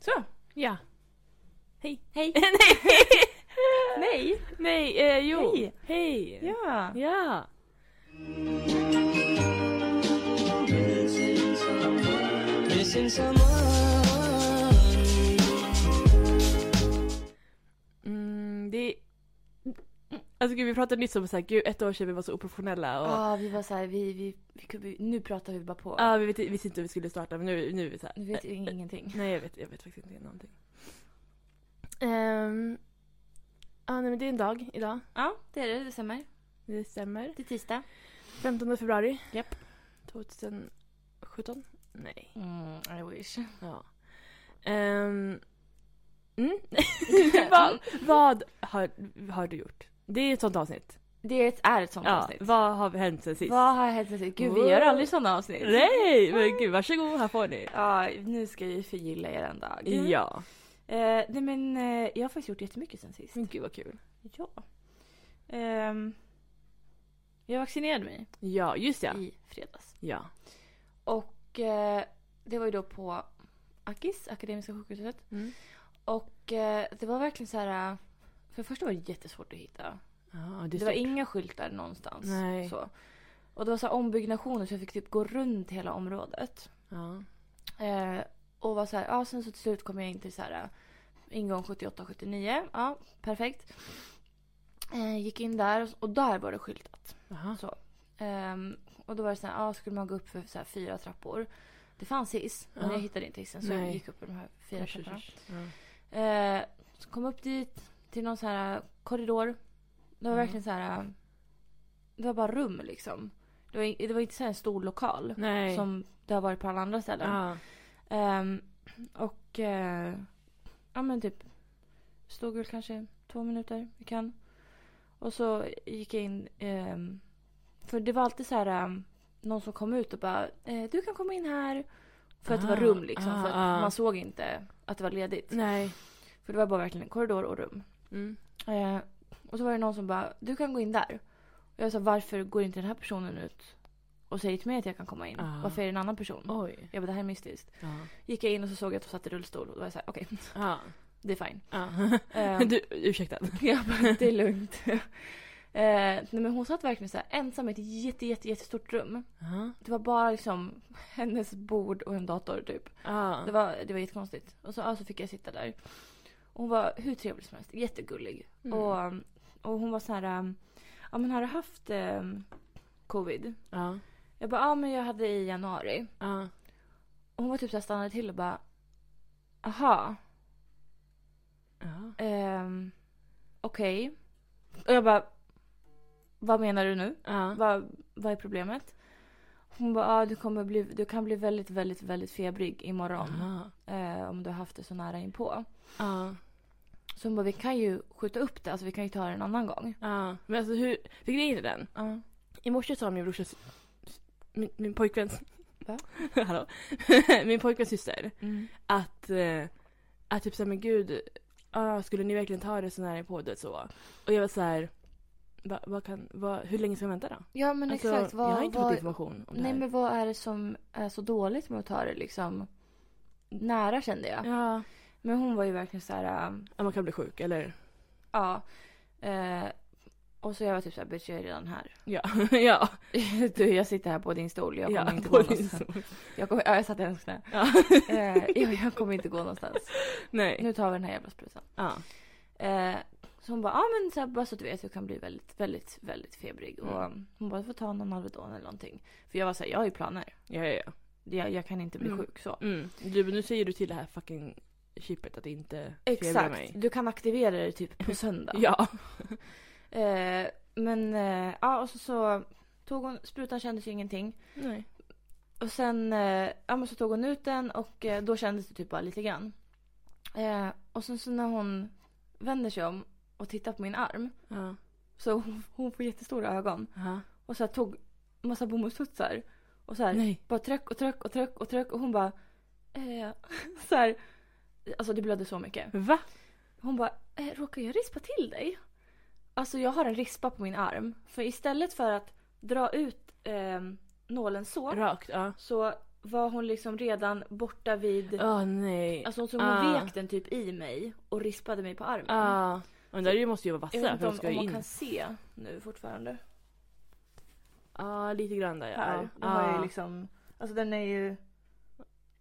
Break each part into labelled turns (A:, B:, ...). A: Så, ja.
B: Hej. Hej.
A: Nej!
B: Nej.
A: Nej, eh, jo.
B: Hej.
A: Hej.
B: Ja.
A: Ja. Mm,
C: Missing someone.
A: Mm, det är... Alltså gud, vi pratade nyss om så här, gud ett år sedan vi var så oprofessionella och
B: Ja, vi var så här, vi, vi, vi, kunde- vi, nu pratar vi bara på.
A: ja, vi vet, visste inte hur vi skulle starta men nu, nu är vi så här.
B: Nu vet vi ingenting.
A: Nej jag vet, jag vet faktiskt inte någonting. Um, ja nej men det är en dag idag.
B: Ja, det är det. Det stämmer.
A: Det stämmer.
B: Det är tisdag.
A: 15 februari.
B: Japp.
A: 2017? Nej.
B: Mm, I wish.
A: Ja. Ehm, mm. vad, vad har, har du gjort? Det är ett sånt avsnitt.
B: Det är ett, är ett sånt
A: Ja,
B: avsnitt.
A: vad har hänt sen sist?
B: Vad har hänt sen sist? Gud, vi
A: Wow.
B: gör aldrig såna avsnitt.
A: Nej men gud varsågod, här får ni.
B: Ja, nu ska vi förgylla er en dag.
A: Ja.
B: Eh, nej men eh, jag har faktiskt gjort jättemycket sen sist.
A: Men gud vad kul.
B: Ja. Ehm, jag vaccinerade mig
A: Ja just ja.
B: i fredags.
A: Ja.
B: Och eh, det var ju då på Akis, Akademiska sjukhuset.
A: Mm.
B: Och eh, det var verkligen så här. eh, För det första var det jättesvårt att hitta.
A: ja
B: Det,
A: det,
B: var
A: stort.
B: inga skyltar någonstans.
A: Nej.
B: Så. Och det var så här ombyggnationer så jag fick typ gå runt hela området.
A: Ja.
B: Eh, och var så här, ja sen så till slut kom jag in till så här eh, ingång 78-79. Ja, perfekt. Eh, gick in där och, och där var det skyltat.
A: Jaha.
B: Ehm, och då var det så här, ja skulle man gå upp för så här fyra trappor. Det fanns hiss, men
A: Ja.
B: jag hittade inte hissen så jag
A: Nej.
B: gick upp för de här fyra
A: Usch, usch,
B: trapporna.
A: usch. Ja.
B: Eh, så kom upp dit till någon så här eh, korridor. Det var
A: Mm.
B: verkligen så här, eh, det var bara rum liksom. Det var, det var inte så här en stor lokal
A: Nej.
B: som det har varit på alla andra ställen.
A: ja.
B: Ehm, och eh, ja men typ stod väl kanske två minuter, vi kan. Och så gick jag in. ehm, för det var alltid så här ehm, någon som kom ut och bara eh, du kan komma in här. För att det var
A: Ah,
B: rum liksom.
A: ah,
B: för att
A: ah.
B: man såg inte att det var ledigt.
A: Nej.
B: För det var bara verkligen en korridor och rum.
A: Mm.
B: Eh, och så var det någon som bara du kan gå in där. Och jag sa varför går inte den här personen ut och säger till mig att jag kan komma in?
A: Ah.
B: Varför är det en annan person?
A: Oj.
B: Jag bara det här är mystiskt
A: Ja.
B: gick jag in och så såg jag att de satt i rullstol och då var jag såhär okej,
A: Ja.
B: det är fine.
A: ja.
B: Eh,
A: Du, ursäkta.
B: jag bara, det är lugnt. Eh, nej men hon satt verkligen såhär ensam i ett jätte, jätte, jättestort rum.
A: Ja.
B: Det var bara liksom hennes bord och en dator typ.
A: Ja.
B: Det var, det var jättekonstigt. Och så, ja, så fick jag sitta där. Och Hon var hur trevlig som helst, jättegullig.
A: Mm.
B: Och, och hon var så här, eh, ja men har du haft eh, covid?
A: Ja.
B: Jag bara, ja men jag hade i januari.
A: Ja.
B: Och hon var typ såhär stannade till och bara, aha.
A: Ja.
B: Ehm, Okej. Och jag bara, vad menar du nu?
A: Ja.
B: Vad, vad är problemet? Hon bara, ah, du, kommer bli, du kan bli väldigt, väldigt, väldigt febrig imorgon.
A: Aha.
B: Eh, om du har haft det så nära inpå.
A: Ja.
B: Så hon bara, vi kan ju skjuta upp det. Alltså vi kan ju ta det en annan gång.
A: Ja. Men alltså hur, för grejen är den.
B: Ja.
A: I morse sa min brorsas, min, min pojkväns,
B: Va?
A: Hallå? min pojkväns syster
B: Mm.
A: att, eh, att typ såhär men gud, ah, skulle ni verkligen ta det så nära på det så? Och jag var såhär, va, vad kan, va, hur länge ska jag vänta då?
B: Ja men
A: Alltså,
B: exakt. Vad,
A: jag har inte fått
B: vad,
A: information om det
B: nej
A: här.
B: men vad är det som är så dåligt med att ta det liksom nära kände jag.
A: Ja.
B: Men hon var ju verkligen så här. eh,
A: ja, man kan bli sjuk eller?
B: ja. Eh, och så jag var typ såhär, bitch jag är redan här.
A: Ja. ja.
B: Du, jag sitter här på din stol. Jag kommer
A: ja,
B: inte
A: på
B: gå
A: din
B: någonstans.
A: sol.
B: Jag, kommer, ja, jag satt i hennes knä.
A: Ja.
B: Eh, jag, jag kommer inte gå någonstans.
A: Nej.
B: Nu tar vi den här jävla sprutan.
A: Ja.
B: Eh, så hon bara, ja men så här, bara så att du vet, jag kan bli väldigt, väldigt, väldigt febrig. Och
A: Mm.
B: um, hon bara, du får ta någon Alvedon eller någonting. För jag var såhär, jag har ju planer.
A: Ja, ja, ja.
B: Jag, jag kan inte bli
A: Mm.
B: sjuk så.
A: Mm. Du, nu säger du till det här fucking chippet att inte febra
B: Exakt,
A: mig.
B: du kan aktivera det typ på söndag.
A: Ja.
B: Eh, men eh, ja, och så, så tog hon, sprutan kändes ju ingenting.
A: Nej.
B: Och sen eh, ja, men så tog hon ut den och eh, då kändes det typ bara lite grann. Eh, och sen så när hon vänder sig om och tittar på min arm
A: Ja.
B: så hon, hon får jättestora ögon
A: Aha.
B: och så här, tog massa bomullstutsar och så här
A: Nej.
B: bara tryck och tryck och tryck och tryck och hon bara eh, så här alltså det blödde så mycket.
A: Va?
B: Hon bara eh, råkar jag rispa till dig? Alltså jag har en rispa på min arm för istället för att dra ut eh, ehm, nålen så
A: Rakt, ja.
B: så var hon liksom redan borta vid...
A: Åh nej.
B: Alltså så hon
A: Ah.
B: vek den typ i mig och rispade mig på armen.
A: Ja. Men där måste ju vara
B: mm. Jag
A: vassa
B: vet
A: för
B: inte
A: de
B: om,
A: ska
B: om
A: ju
B: man
A: in. Ja,
B: kan se nu fortfarande.
A: lite grann där ja. Ah.
B: Här.
A: Ja.
B: Den har
A: Ja.
B: ju liksom... Alltså den är ju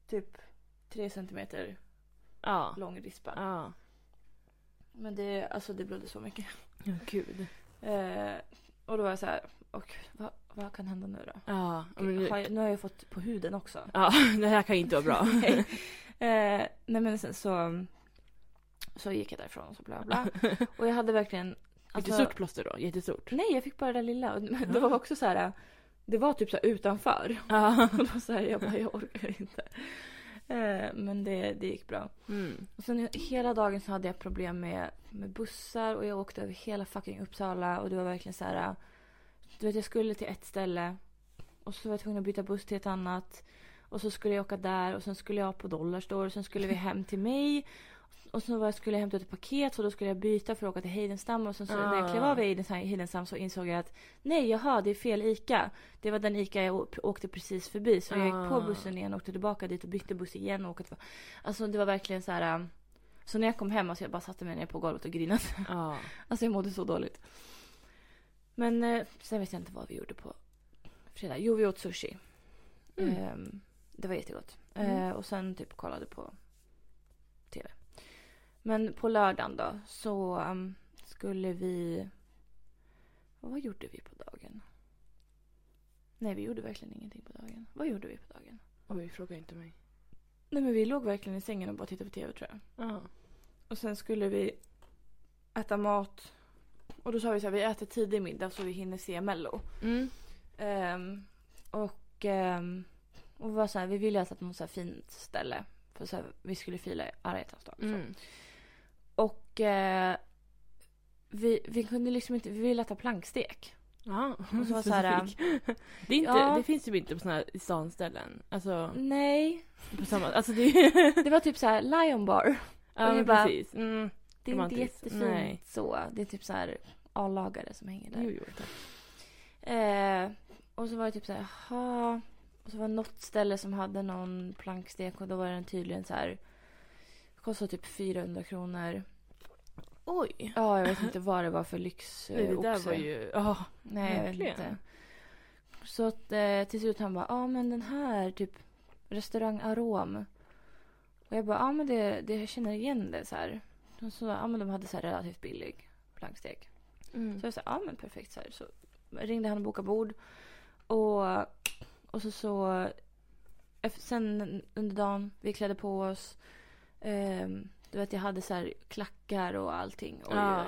B: typ tre centimeter
A: Ja.
B: lång rispad.
A: Ja.
B: Men det, alltså det blödde så mycket.
A: Ja, gud.
B: Eh, och då var jag så här, och vad, vad kan hända nu då?
A: Ja. men
B: Har
A: det-
B: jag, nu har jag fått på huden också.
A: Ja, det här kan ju inte vara bra.
B: Nej. eh, nej men sen så, så gick jag därifrån och så bla bla. Och jag hade verkligen... alltså-
A: Jättestort plåster då, jättestort.
B: nej, jag fick bara det där lilla. Och Det var också så här, det var typ så här utanför.
A: Ja.
B: Och då så här, jag bara, jag orkar inte. Eh, men det, det gick bra.
A: Mm.
B: Och sen hela dagen så hade jag problem med, med bussar och jag åkte över hela fucking Uppsala och det var verkligen så här. Du vet jag skulle till ett ställe och så var jag tvungen att byta buss till ett annat. Och så skulle jag åka där och sen skulle jag på Dollarstore och sen skulle vi hem till mig. Och så var jag, skulle jag hämta ut ett paket och då skulle jag byta för att åka till Heidenstam och sen så, när jag klev av i Heidenstam- Heidenstam så insåg jag att nej jaha det är fel ICA. Det var den ICA jag å- åkte precis förbi så jag gick på
A: Ah.
B: bussen igen och åkte tillbaka dit och bytte buss igen och åkte tillbaka. Alltså det var verkligen så här. ähm, Så när jag kom hem, alltså jag bara satte mig ner på golvet och grinade.
A: Ja.
B: Alltså jag mådde så dåligt. Men eh, sen vet jag inte vad vi gjorde på fredag. Jo, vi åt sushi.
A: Mm.
B: Ehm, det var jättegott.
A: Mm.
B: Eh, och sen typ kollade på tv. Men på lördagen då så ehm, skulle vi... Vad gjorde vi på dagen? Nej, vi gjorde verkligen ingenting på dagen. Vad gjorde vi på dagen?
A: Oj, fråga inte mig.
B: Nej, men vi låg verkligen i sängen och bara tittade på tv tror jag.
A: Ja.
B: Och sen skulle vi äta mat. Och då sa vi så här, vi äter tidig middag så vi hinner se Mello.
A: Mm.
B: Ehm, och, ehm, och vi var så här, vi ville äta på något så här fint ställe. För så här, vi skulle fira alla hjärtans dag. så.
A: Mm.
B: Och eh, vi, vi kunde liksom inte, vi ville äta plankstek.
A: Ja.
B: Och så var så här,
A: specifik. det, är inte,
B: ja.
A: det finns ju inte på såna här stanställen. Alltså,
B: Nej,
A: på samma... Alltså det är...
B: det var typ så här Lion Bar.
A: ja,
B: Och
A: men
B: jag bara-
A: precis. Mm.
B: Det är inte
A: Romantiskt.
B: jättefint
A: Nej.
B: så. Det är typ så här A-lagare som hänger där.
A: Jo, jo, tack.
B: Eh, och så var det typ så här, jaha. Och så var det något ställe som hade någon plankstek och då var den tydligen så här. Kostade typ 400 kronor.
A: Oj.
B: Ja, jag vet inte vad det var för lyx. eh,
A: Nej, det där
B: oxe.
A: var ju... ja
B: Nej, jag vet
A: verkligen.
B: inte. Så att eh, till slut han bara, ja ah, men den här typ restaurang Arom. Och jag bara, ja ah, men det, det jag känner igen det så här. Och så, ja ah, men de hade så här relativt billig plankstek.
A: Mm.
B: Så jag sa, ja men perfekt. Så, här. så ringde han och bokade bord. Och, och så så... ef- Sen under dagen, vi klädde på oss. Ehm, du vet jag hade så här klackar och allting. Och,
A: Ja.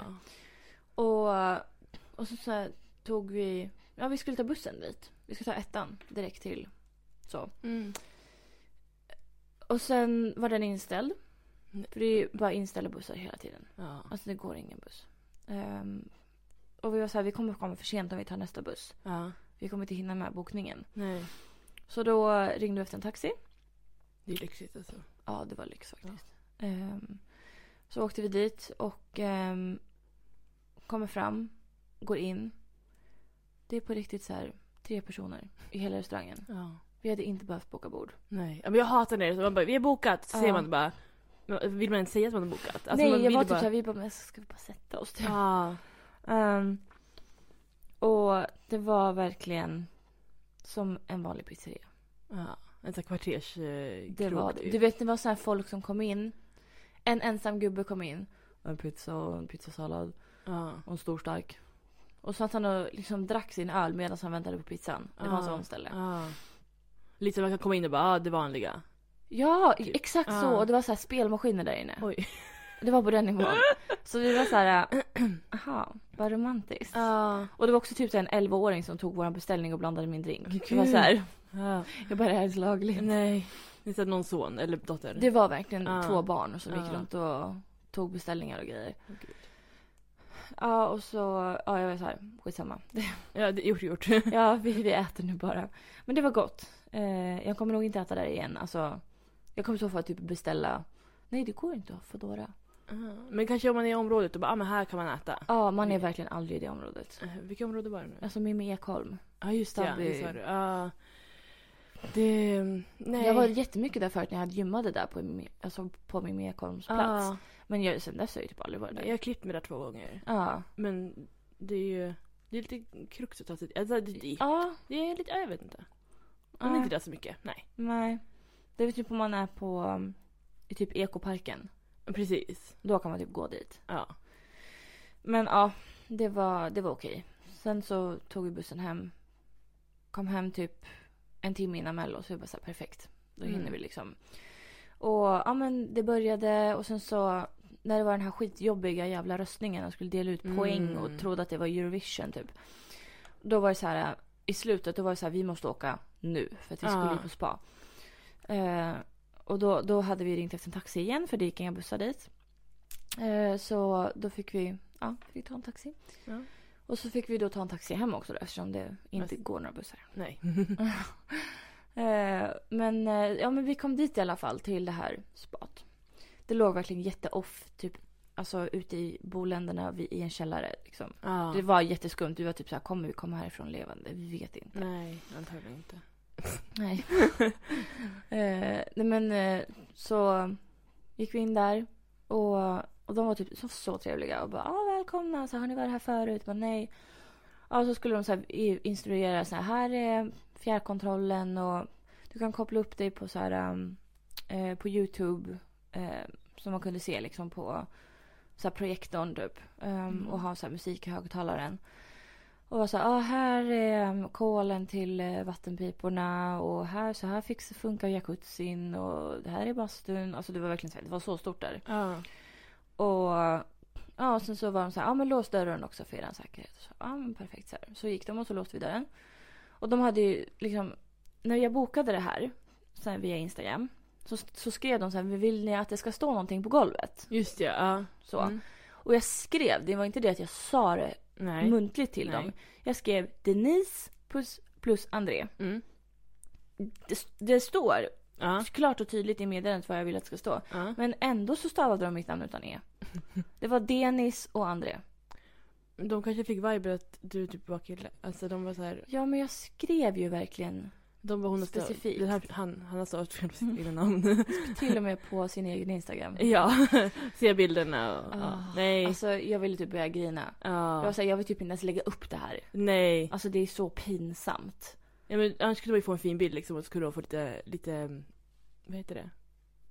B: och, och så, så här, tog vi... Ja vi skulle ta bussen dit. Vi skulle ta ettan direkt till. Så.
A: Mm.
B: Och sen var den inställd.
A: Nej.
B: För det är ju bara inställda bussar hela tiden.
A: Ja.
B: Alltså det går ingen buss. Ehm, och vi var så här, vi kommer komma för sent om vi tar nästa buss.
A: ja.
B: Vi kommer inte hinna med bokningen.
A: Nej.
B: Så då ringde vi efter en taxi.
A: Det är lyxigt alltså.
B: Ja, det var lyx faktiskt. Ehm, så åkte vi dit och ehm, kommer fram, går in. Det är på riktigt så här tre personer i hela restaurangen.
A: Ja.
B: Vi hade inte behövt boka bord.
A: Nej. Ja, men jag hatar när det är så. Man bara, vi har bokat. Så
B: Ja.
A: säger man bara... men Vill man inte säga att man har bokat? Alltså,
B: Nej,
A: man
B: jag
A: vill
B: var
A: ju
B: typ såhär, vi bara, men ska vi bara sätta oss? Typ.
A: Ja.
B: Ehm, och det var verkligen som en vanlig pizzeria.
A: Ja, en sån här eh, kvarterskrog.
B: Det var det. Du vet, det var så här folk som kom in. En ensam gubbe kom in. En pizza och en pizzasallad
A: Ja.
B: och en stor stark. Och så att han och liksom drack sin öl medan han väntade på pizzan. Det var
A: Ah,
B: en sån ställe.
A: ja. Lite som man kan komma in och bara, ah, det vanliga.
B: Ja, exakt så.
A: Ah.
B: Och det var så här spelmaskiner där inne.
A: Oj.
B: Det var på den nivån. så vi var så här, äh, aha, vad romantiskt.
A: Ja.
B: Och det var också typ så här en 11-åring som tog vår beställning och blandade min drink. Det var
A: Gud.
B: så här,
A: ja.
B: jag bara det här är så lagligt.
A: Nej. Det är så att någon son eller dotter.
B: Det var verkligen
A: Ah.
B: två barn som gick
A: Ah.
B: runt och tog beställningar och grejer.
A: Åh, gud.
B: Ja, och så... Ja, jag var så här, skitsamma.
A: Ja, det är gjort gjort.
B: Ja, vi, vi äter nu bara. Men det var gott. Eh, jag kommer nog inte äta där igen. Alltså, jag kommer i så fall typ beställa... Nej, det går inte att ha Foodora.
A: Men kanske om man är i området och bara, ah, men här kan man äta.
B: Ja, man är verkligen aldrig i det området.
A: Eh, Vilket område var det nu?
B: Alltså Mimmi Ekholm.
A: Ja, just det. Ja,
B: Stabby.
A: det sa du. Ja. Det,
B: mm,
A: nej.
B: Jag var jättemycket där förut när jag hade gymmade där på min, alltså på min
A: Ah.
B: Mekholmsplats.
A: Ja,
B: Men jag, sen dess har jag typ aldrig varit där.
A: jag har klippt mig där två gånger.
B: Ja.
A: Men det är ju det är lite krux att ta sig alltså, det, det,
B: Ja.
A: det är lite, jag vet inte. Man är
B: nej.
A: inte där så mycket. Nej.
B: Nej. Det är väl typ om man är på um, i typ ekoparken.
A: Precis.
B: Då kan man typ gå dit.
A: Ja.
B: Men ja, det var, det var okej. Sen så tog vi bussen hem. Kom hem typ en timme innan mello så vi bara så här, perfekt. Då hinner
A: Mm.
B: vi liksom. Och ja men det började och sen så när det var den här skitjobbiga jävla röstningen och skulle dela ut poäng och
A: Mm.
B: trodde att det var Eurovision typ. Då var det så här i slutet då var det så här vi måste åka nu för att vi skulle
A: Ja.
B: ju på spa. Eh, och då, då hade vi ringt efter en taxi igen för det gick inga bussar dit. Eh, så då fick vi, ja, fick ta en taxi.
A: Ja.
B: Och så fick vi då ta en taxi hem också då, eftersom det inte
A: Just.
B: går några bussar.
A: Nej.
B: Eh, men, eh, ja, men vi kom dit i alla fall till det här spat. Det låg verkligen jätteoff, typ alltså ute i boländerna vi, i en källare. Liksom.
A: Ja.
B: Det var jätteskumt. Vi var typ så här, kommer vi komma härifrån levande? Vi vet inte.
A: Nej, antagligen inte.
B: Nej. eh, nej men eh, så gick vi in där och, och de var typ så, så trevliga och bara ah, välkomna, så här, har ni varit här förut? Men nej. Ja, så skulle de så här, i- instruera så här, här är fjärrkontrollen och du kan koppla upp dig på så här um, eh, på Youtube eh, som man kunde se liksom på så här projektorn typ um,
A: Mm.
B: och ha så här musik i högtalaren. Och var så här, ah, här är um, kolen till eh, vattenpiporna och här så här fix, funkar jacuzzin och det här är bastun. Alltså det var verkligen så här, det var så stort där.
A: Ja.
B: Och ja, och sen så var de så här, ja men lås dörren också för er säkerhet. Så, ja men perfekt så här. Så gick de och så låste vi dörren. Och de hade ju liksom, när jag bokade det här så här via Instagram så, så skrev de så här, vill ni att det ska stå någonting på golvet?
A: Just det, ja.
B: Så.
A: Mm.
B: Och jag skrev, det var inte det att jag sa det
A: Nej.
B: muntligt till
A: Nej.
B: dem. Jag skrev Denise plus, plus André.
A: Mm.
B: Det, det står
A: Ja.
B: klart och tydligt i meddelandet vad jag vill att det ska stå.
A: ja.
B: Men ändå så stavade de mitt namn utan E. Det var Denis och André.
A: De kanske fick vibe att du typ var kille. Alltså de var så här,
B: Ja men jag skrev ju verkligen
A: de var hon har stav-
B: Specifikt.
A: Den här, han, han har stavat fel på sitt egna namn.
B: till och med på sin egen Instagram.
A: ja, se bilderna och, ja.
B: Ah,
A: Nej.
B: Alltså jag ville typ börja grina.
A: ja.
B: Jag var såhär, jag vill typ inte ens lägga upp det här.
A: Nej.
B: Alltså det är så pinsamt.
A: Ja, men annars kunde man ju få en fin bild liksom och så kunde de få lite, lite, vad heter det?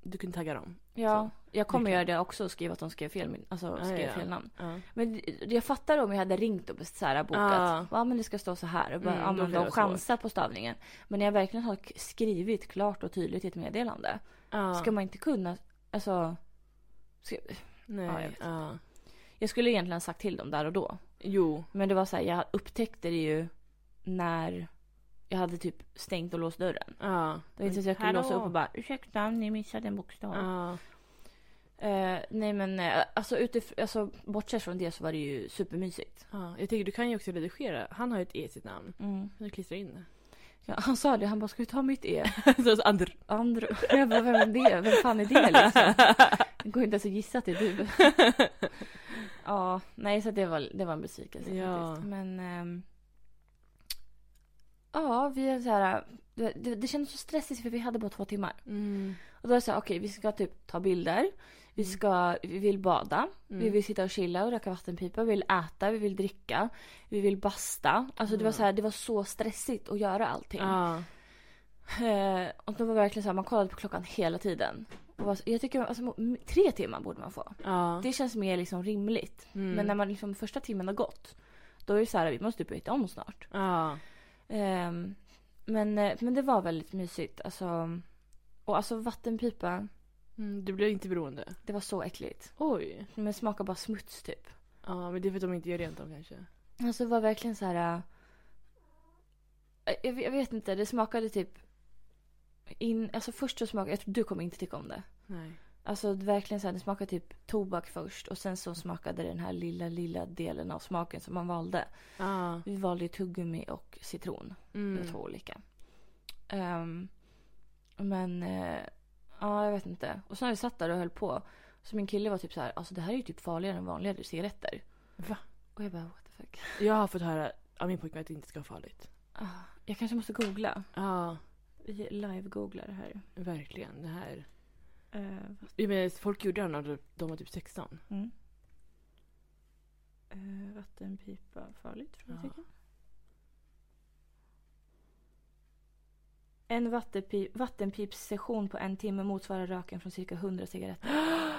A: Du kunde tagga dem.
B: Ja, jag kommer
A: verkligen.
B: göra det också och skriva att de skrev fel, min- alltså,
A: Ja,
B: skrev
A: ja, ja.
B: fel namn.
A: Ja.
B: Men jag fattar om jag hade ringt och så här bokat.
A: Ja.
B: Ja men det ska stå så här. Och
A: Ah.
B: bara,
A: Mm,
B: ja,
A: då
B: men
A: blir
B: de
A: det
B: chansar på stavningen. Men när jag verkligen har k- skrivit klart och tydligt i ett meddelande.
A: ja.
B: Ska man inte kunna, alltså. Ska, Ja, jag
A: Nej.
B: vet
A: Ja.
B: jag skulle egentligen ha sagt till dem där och då.
A: Jo.
B: Men det var så här, jag upptäckte det ju när jag hade typ stängt och låst dörren.
A: Ja.
B: Det var inte så att jag kunde
A: Hallå.
B: låsa upp och bara ursäkta ni missade en bokstav.
A: Ja.
B: Eh, nej men eh, alltså, utif- alltså bortsett från det så var det ju supermysigt.
A: ja. Jag tänker du kan ju också redigera. Han har ju ett E i sitt namn.
B: Mm.
A: Kan du klistra in det?
B: Ja, han sa det, han bara ska vi ta mitt E?
A: så, så andra.
B: Andra. Jag bara, vem är det? Vem fan är det liksom? Det går inte ens att gissa att det är du. ja, nej så det var, det var en besvikelse
A: Ja.
B: faktiskt. Men... ehm, ja, vi är så här... Det, det, det kändes så stressigt för vi hade bara två timmar.
A: Mm.
B: Och då var det så här, okej vi ska typ ta bilder. Vi, ska, vi vill bada. Vi
A: Mm.
B: vill sitta och chilla och röka vattenpipa. Vi vill äta, vi vill dricka. Vi vill basta. Alltså det var så här, det var så stressigt att göra allting.
A: Mm. Ja.
B: Eh, och då var det verkligen så här, man kollade på klockan hela tiden. Och var, så- jag tycker alltså, m- tre timmar borde man få.
A: Ja.
B: Det känns mer liksom rimligt.
A: Mm.
B: Men när man liksom första timmen har gått. Då är det så här, vi måste typ byta om snart.
A: Ja.
B: Ehm, men, eh, men det var väldigt mysigt. Alltså, och alltså vattenpipa,
A: Mm, du blev inte beroende.
B: det var så äckligt.
A: Oj.
B: Men det smakar bara smuts typ.
A: Ja, men det är för att de inte gör rent dem kanske.
B: Alltså det var verkligen så här. eh, Jag, jag vet inte, det smakade typ. In, alltså först så smakade, jag tror du kommer inte tycka om det.
A: Nej.
B: Alltså det är verkligen så här, det smakade typ tobak först och sen så smakade den här lilla, lilla delen av smaken som man valde.
A: Ja.
B: Vi valde ju tuggummi och citron. Det var
A: Mm.
B: två olika. Ehm, men, eh, ja jag vet inte. Och sen när vi satt där och höll på. Så min kille var typ så här, alltså det här är ju typ farligare än vanliga cigaretter.
A: Va?
B: Och jag bara what the fuck.
A: Jag har fått höra av min pojkvän att det inte ska vara farligt.
B: Ah, Jag kanske måste googla.
A: Ja.
B: Vi live-googlar här.
A: Verkligen. Det här.
B: Eh, vad-
A: Jag menar, folk gjorde det när de var typ 16.
B: mm. Eh, vattenpipa farligt? Frågetecken. En vattenpi- vattenpipssession på en timme motsvarar röken från cirka 100 cigaretter.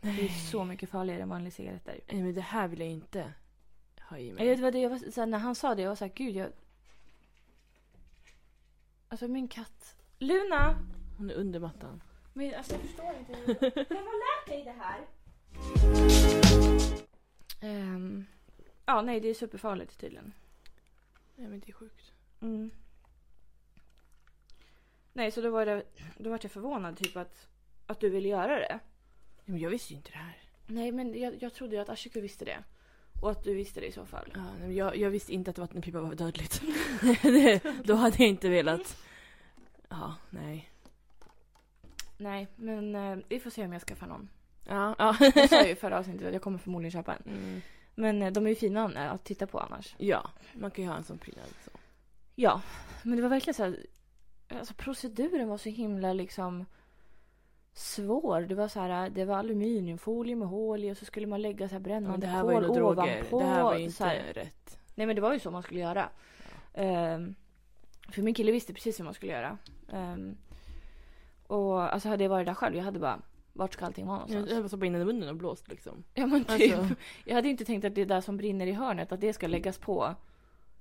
B: Det är ju så mycket farligare än vanliga cigaretter.
A: Nej, men det här vill jag inte ha i mig.
B: Jag vet vad det jag var, så här, när han sa det, jag var såhär, gud jag... Alltså min katt. Luna!
A: Hon är under mattan.
B: Min, alltså jag förstår inte hur... Vem har lärt dig det här? Ehm, ja, nej det är superfarligt tydligen.
A: Nej, men det är sjukt.
B: Mm. Nej, så då var det... Då var jag förvånad typ att, att du ville göra det.
A: Nej, men jag visste ju inte det här.
B: Nej, men jag, jag trodde ju att Ashiku visste det. Och att du visste det i så fall.
A: Ja, nej, men jag, jag visste inte att vattenpipa var dödligt. det, då hade jag inte velat. Ja, nej.
B: Nej, men eh, vi får se om jag skaffar någon.
A: Ja, ja.
B: Jag sa ju i förra avsnittet att jag kommer förmodligen köpa en.
A: Mm.
B: Men eh, de är ju fina eh, att titta på annars.
A: Ja, man kan ju ha en sån alltså. prydnad. Så.
B: Ja, men det var verkligen så här. Alltså proceduren var så himla liksom svår. Det var så här, eh, det var aluminiumfolie med hål i och så skulle man lägga så här
A: Men
B: brännande
A: det här var ju
B: kol
A: några droger.
B: ovanpå.
A: Det här var ju
B: så här.
A: inte rätt.
B: Nej men det var ju så man skulle göra. Ehm, för min kille visste precis hur man skulle göra. Ehm, och alltså hade jag varit där själv, jag hade bara, vart ska allting vara någonstans?
A: Jag bara stoppade in den i munnen och blåst liksom.
B: Ja men typ.
A: Alltså.
B: Jag hade ju inte tänkt att det där som brinner i hörnet, att det
A: Mm.
B: ska läggas på.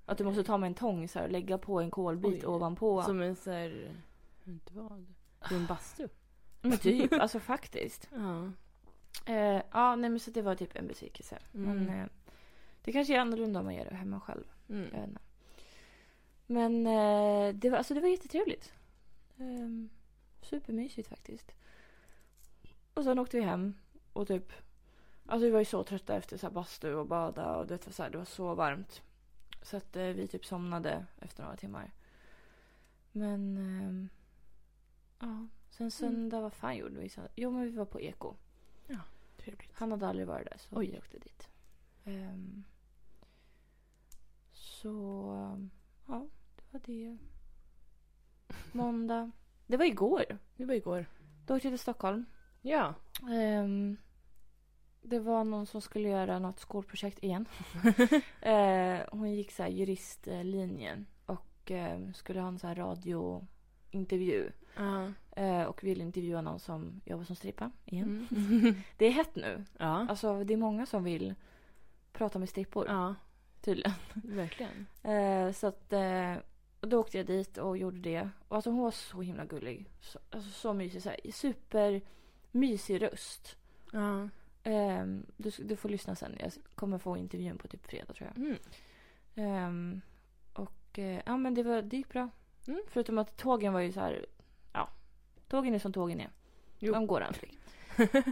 B: Att du måste ta med en tång så här, och lägga på en kolbit
A: Oj.
B: ovanpå.
A: Som en så här... jag vet Inte vad. Det är en bastu.
B: Men typ, alltså faktiskt.
A: Ja.
B: Eh, ja, nej men så det var typ en besvikelse.
A: Mm.
B: Men eh, det kanske är annorlunda om man gör det hemma själv. Jag
A: Mm.
B: vet inte. Men eh, det var, alltså, det var jättetrevligt. Um, supermysigt faktiskt. Och sen åkte vi hem och typ... Alltså vi var ju så trötta efter så här bastu och bada och det var, så här, det var så varmt. Så att eh, vi typ somnade efter några timmar. Men... ehm, ja. Sen söndag, vad fan gjorde vi? söndag? Jo men vi var på Eko.
A: Trevligt.
B: Han hade aldrig varit där så
A: Oj.
B: vi åkte dit. Ehm, så ja, det var det. Måndag. Det var igår.
A: Det var igår.
B: Då åkte jag till Stockholm.
A: Ja.
B: Ehm, det var någon som skulle göra något skolprojekt igen. Eh, hon gick så här juristlinjen och eh, skulle ha en så här radiointervju.
A: Ja.
B: Eh, och ville intervjua någon som jobbar som strippa igen.
A: Mm.
B: Det är hett nu.
A: Ja.
B: Alltså det är många som vill prata med strippor
A: Ja,
B: tydligen.
A: verkligen.
B: Eh, så att eh, och då åkte jag dit och gjorde det. Och alltså hon var så himla gullig. Så, alltså så mysig. Så här, supermysig röst.
A: Ja.
B: Eh, du, du får lyssna sen. Jag kommer få intervjun på typ fredag tror jag.
A: Mm.
B: Ehm, och eh, ja men det, var, det gick bra.
A: Mm.
B: Förutom att tågen var ju så här. Ja. Tågen är som tågen är.
A: Jo.
B: De går aldrig.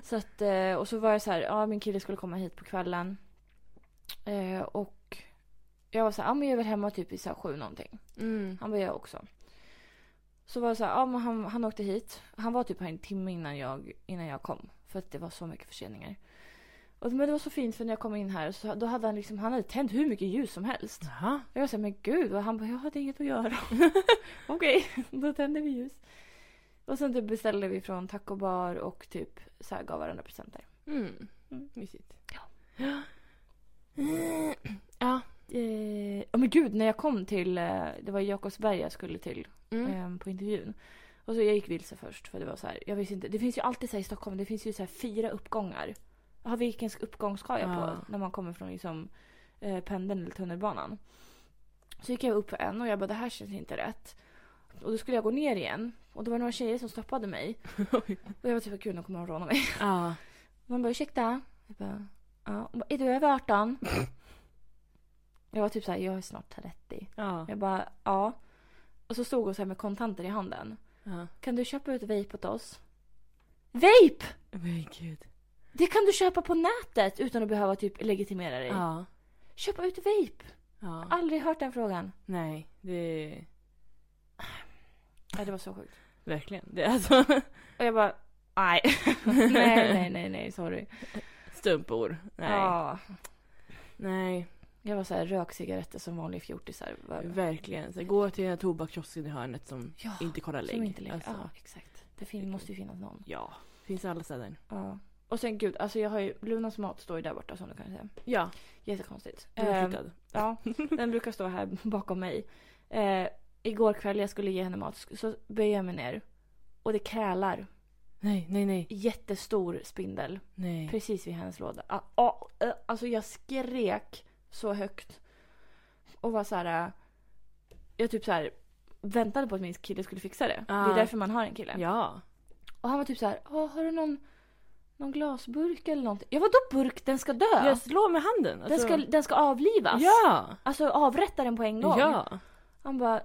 B: så att, eh, och så var jag så här. Ja min kille skulle komma hit på kvällen. Eh, och jag var så här. Ja men jag är väl hemma typ i så här sju någonting.
A: Mm.
B: Han var jag också. Så var det så här, ja, men han, han åkte hit. Han var typ här en timme innan jag, innan jag kom. För att det var så mycket förseningar. Och, men det var så fint för när jag kom in här så då hade han liksom, han hade tänt hur mycket ljus som helst.
A: Jaha.
B: Och jag sa men gud och han bara jag hade inget att göra. Okej, då tände vi ljus. Och sen typ beställde vi från taco bar och typ så här gav varandra presenter.
A: Mm.
B: Mm.
A: Mysigt. Mm. Ja.
B: Ja.
A: Ja.
B: Eh, oh, men gud när jag kom till, eh, det var Jakobsberg jag skulle till
A: Mm.
B: eh, på intervjun. Och så jag gick vilse först för det var så här, jag visste inte. Det finns ju alltid så här i Stockholm, det finns ju så här fyra uppgångar. Jaha, vilken uppgång ska jag på?
A: Ja.
B: När man kommer från liksom eh, pendeln eller tunnelbanan. Så gick jag upp på en och jag bara det här känns inte rätt. Och då skulle jag gå ner igen. Och det var några tjejer som stoppade mig.
A: Oj.
B: Och jag var typ gud nu kommer de råna mig.
A: Ja.
B: Man bara ursäkta? Jag bara, ja. Hon bara, är du över 18? jag var typ så här, jag är snart 30.
A: Ja.
B: Jag bara ja. Och så stod hon så här med kontanter i handen.
A: Ja.
B: Kan du köpa ut vape åt oss? Vape!
A: Men gud.
B: Det kan du köpa på nätet utan att behöva typ legitimera dig.
A: Ja.
B: Köpa ut vape!
A: Ja.
B: Aldrig hört den frågan.
A: Nej, det är
B: Ja, det var så sjukt.
A: verkligen. Det är alltså
B: Och jag bara nej. nej, nej, nej, nej, sorry.
A: stumpor. Nej.
B: Ja.
A: Nej.
B: Jag var så här, rök cigaretter som vanliga fjortisar. Var-
A: Verkligen. Så gå till den här tobakskiosken i hörnet som
B: Ja,
A: inte kollar lägg.
B: som inte lägger.
A: Alltså,
B: Ja, exakt. Det fin- måste ju finnas någon.
A: ja. Finns i alla ställen.
B: Ja. Och sen gud, alltså jag har ju, Lunas mat står ju där borta som du kan se.
A: Ja,
B: Jättekonstigt.
A: den är
B: Ehm,
A: flyttad.
B: Ja, den brukar stå här bakom mig. Eh, igår kväll jag skulle ge henne mat sk- så böjer jag mig ner. Och det krälar.
A: Nej, nej, nej.
B: Jättestor spindel.
A: Nej.
B: Precis vid hennes låda. Ah, ah, eh, alltså jag skrek så högt. Och var så här. eh, Jag typ så här väntade på att min kille skulle fixa det. Det
A: Ah.
B: är därför man har en kille.
A: Ja.
B: Och han var typ så här. "Ah, har du någon, någon glasburk eller någonting? Ja vadå burk? Den ska dö!
A: Jag slår med handen.
B: den,
A: Alltså,
B: ska, den ska avlivas!
A: Ja.
B: Alltså avrätta den på en gång.
A: Ja.
B: Han bara,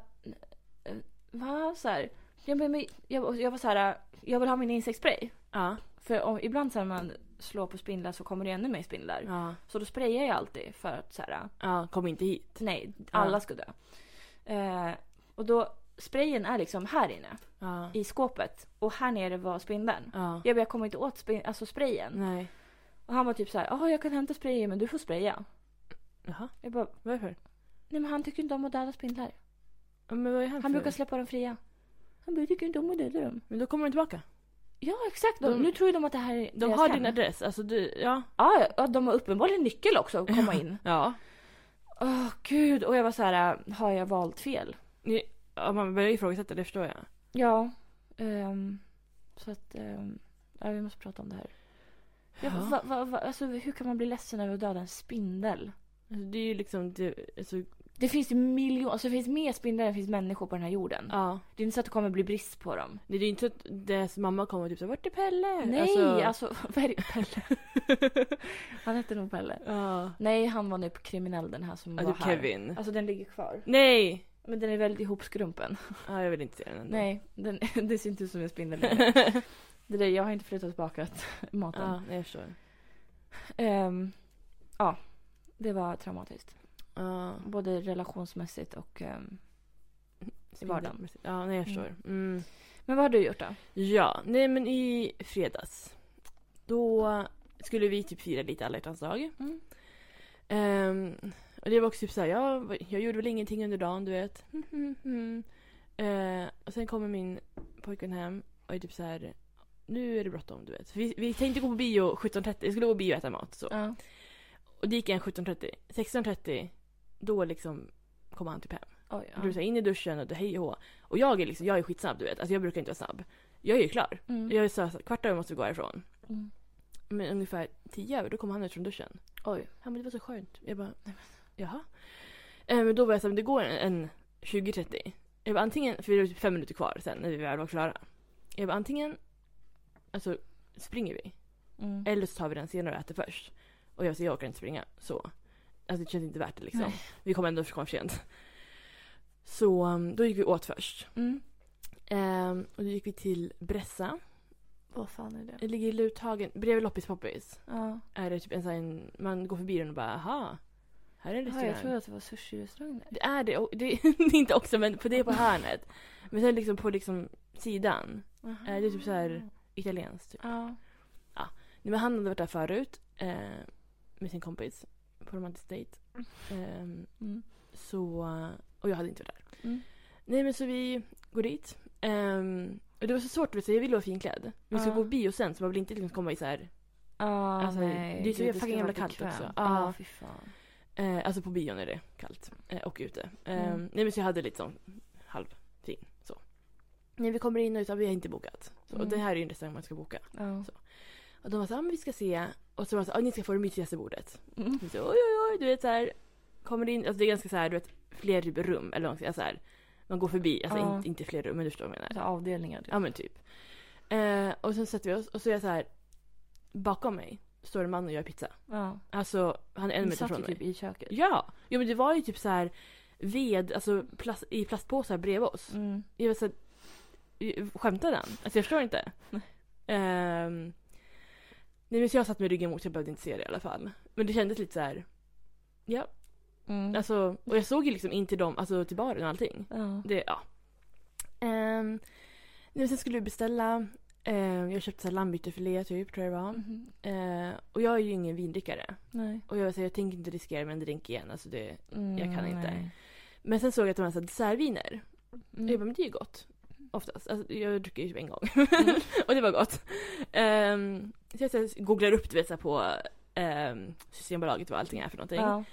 B: "Eh, va? Så här. Jag, men, men- jag, jag var så här, jag vill ha min insektsspray.
A: Ja.
B: För om, ibland så här, när man slår på spindlar så kommer det ännu mer spindlar.
A: Ja.
B: Så då sprayar jag alltid för att så här,
A: ja. Kom inte hit.
B: nej, alla
A: Ja.
B: ska dö. Eh, och då, sprayen är liksom här inne
A: Ja.
B: i skåpet och här nere var spindeln.
A: Ja.
B: Jag, bara, jag kommer inte åt spin, alltså sprayen.
A: Nej.
B: Och han var typ så här, ja jag kan hämta sprayen men du får spraya.
A: Jaha.
B: Jag bara,
A: Varför?
B: nej men han tycker inte om att döda spindlar.
A: Ja, Men vad är
B: Han brukar
A: för?
B: släppa dem fria. Han bara, jag tycker inte om att döda dem.
A: Men då kommer de tillbaka.
B: Ja exakt, de,
A: De-
B: nu tror ju de att det här är
A: De
B: deras
A: har
B: hem.
A: din adress. Alltså du, ja.
B: Ja, ja, ja, de har uppenbarligen nyckel också att komma in.
A: Ja.
B: Åh gud, och jag var så här, äh, har jag valt fel?
A: Ni- ja man börjar ifrågasätta, det förstår jag.
B: Ja, ehm, så att, ehm, ja vi måste prata om det här. Ja,
A: Ja.
B: va, va, va, alltså, hur kan man bli ledsen över att döda en spindel?
A: Alltså, det är ju liksom, det, alltså,
B: Det finns ju miljoner, alltså det finns mer spindlar än det finns människor på den här jorden.
A: ja.
B: Det är inte så att det kommer bli brist på dem.
A: Det är ju inte så att dess mamma kommer och typ såhär, vart är Pelle?
B: Nej, alltså, vad är det? Pelle? han hette nog Pelle.
A: Ja.
B: Nej, han var nu kriminell den här som var
A: Alltså
B: här.
A: Kevin.
B: Alltså den ligger kvar.
A: Nej!
B: Men den är väldigt ihopskrumpen.
A: Ja, jag vill inte se den ändå.
B: Nej, den, det ser inte ut som en spindel längre. Det där, jag har inte flyttat tillbaka maten.
A: Ja, nej, jag förstår.
B: Ehm, ja, det var traumatiskt.
A: Ja.
B: Både relationsmässigt och... ehm, I vardagen.
A: Ja, nej jag förstår. Mm.
B: Men vad har du gjort då?
A: Ja, nej men i fredags. Då skulle vi typ fira lite alla hjärtans dag.
B: Mm.
A: Ehm, och det var också typ såhär, jag, jag gjorde väl ingenting under dagen du vet. Eh, och sen kommer min pojkvän hem och är typ så här. nu är det bråttom du vet. För Vi, vi tänkte gå på bio 17.30, vi skulle gå på bio och äta mat så.
B: Ja.
A: Och det gick en 17.30. 16.30, då liksom kom han typ hem.
B: Oj,
A: Du
B: ja.
A: säger in i duschen och du hej och hå. Och jag är liksom, jag är skitsnabb du vet. Alltså jag brukar inte vara snabb. Jag är ju klar.
B: Mm.
A: Jag sa så här, kvart över måste vi gå härifrån.
B: Mm.
A: Men ungefär tio över, då kom han ut från duschen.
B: Oj.
A: Han bara, det var så skönt. Jag bara, nej men jaha. Eh, Men då var jag såhär, men det går en, en 20-30. Jag bara antingen, för det var typ fem minuter kvar sen när vi väl var klara. Jag bara antingen, alltså springer vi.
B: Mm.
A: Eller så tar vi den senare och äter först. Och jag säger jag orkar inte springa. Så. Alltså det känns inte värt det liksom.
B: Nej.
A: Vi kommer ändå komma för sent. Så um, då gick vi åt först.
B: Mm.
A: Ehm, och då gick vi till Bressa.
B: Vad fan är det?
A: Det ligger i Luthagen. Bredvid Loppis Poppis.
B: Ja.
A: Är det typ en sån här, man går förbi den och bara aha. Här är en
B: Ja,
A: restaurang.
B: jag trodde att det var sushi-restaurang där.
A: Det är det. Och det är inte också men på det på hörnet. Men sen liksom på liksom sidan. Eh, det är typ så här- Italienskt. Typ.
B: Ja.
A: Nej, men han hade varit där förut. Eh, med sin kompis. På romantisk dejt. Ehm,
B: Mm.
A: Så, och jag hade inte varit där.
B: Mm.
A: Nej men så vi går dit. Ehm, och det var så svårt, vet du, jag ville vara finklädd. Vi skulle
B: Ja.
A: gå på bio sen så man vill inte liksom komma i så här,
B: Ah,
A: Alltså,
B: nej.
A: det är så
B: Gud,
A: fucking
B: ska
A: jävla
B: vara
A: kallt
B: bekvämt.
A: också.
B: Ja,
A: Ja.
B: fy fan.
A: eh, alltså på bion är det kallt. Eh, och ute. Ehm,
B: Mm.
A: Nej men så jag hade lite sån halvfin så. När vi kommer in och ut, ja, vi har inte bokat. Så, Och
B: Mm.
A: det här är ju en restaurang man ska boka.
B: Ja.
A: Och de var så här, "Ja, men vi ska se. Och så var de så här, "Ja, ni ska få det mysigaste bordet.
B: Mm.
A: Så, oj oj oj, du vet så här. Kommer in, alltså det är ganska så här, du vet, fler typ rum. Eller vad man ska säga, så här. Man går förbi, alltså
B: Ja.
A: inte, inte fler rum men du förstår vad jag menar.
B: Alltså, avdelningar. typ.
A: Ja men typ. Eh, och sen sätter vi oss och så är jag så här. Bakom mig står en man och gör pizza.
B: Ja.
A: Alltså han är en
B: Vi
A: meter
B: satt
A: från
B: ju
A: mig.
B: typ i köket.
A: Ja! Jo men det var ju typ så här ved, alltså plast, i plastpåsar bredvid oss.
B: Mm.
A: Jag var så här, skämtade han? Alltså jag förstår inte.
B: Nej.
A: Ehm, nej men så jag satt med ryggen mot, jag behövde inte se det i alla fall. Men det kändes lite så här. Ja,
B: Mm.
A: alltså. Och jag såg ju liksom in till dem, alltså till baren och allting.
B: ja.
A: Ehm, Det, ja. Um, nu sen skulle vi beställa Eh, jag köpte så här lammbytefilé typ, tror jag det var.
B: Mhm.
A: Eh, och jag är ju ingen vindrickare.
B: Nej.
A: Och jag, så jag tänker inte riskera med en drink igen. Alltså det...
B: Mm,
A: Jag kan inte.
B: nej.
A: Men sen såg jag att de här, så här dessertviner.
B: Mm.
A: Jag bara, men det är ju gott. Oftast. Alltså, jag dricker ju typ en gång.
B: Mm.
A: och det var gott. Ehm, så jag så här, googlar upp du vet, så här, på ehm, Systembolaget vad allting är för någonting.
B: Ja.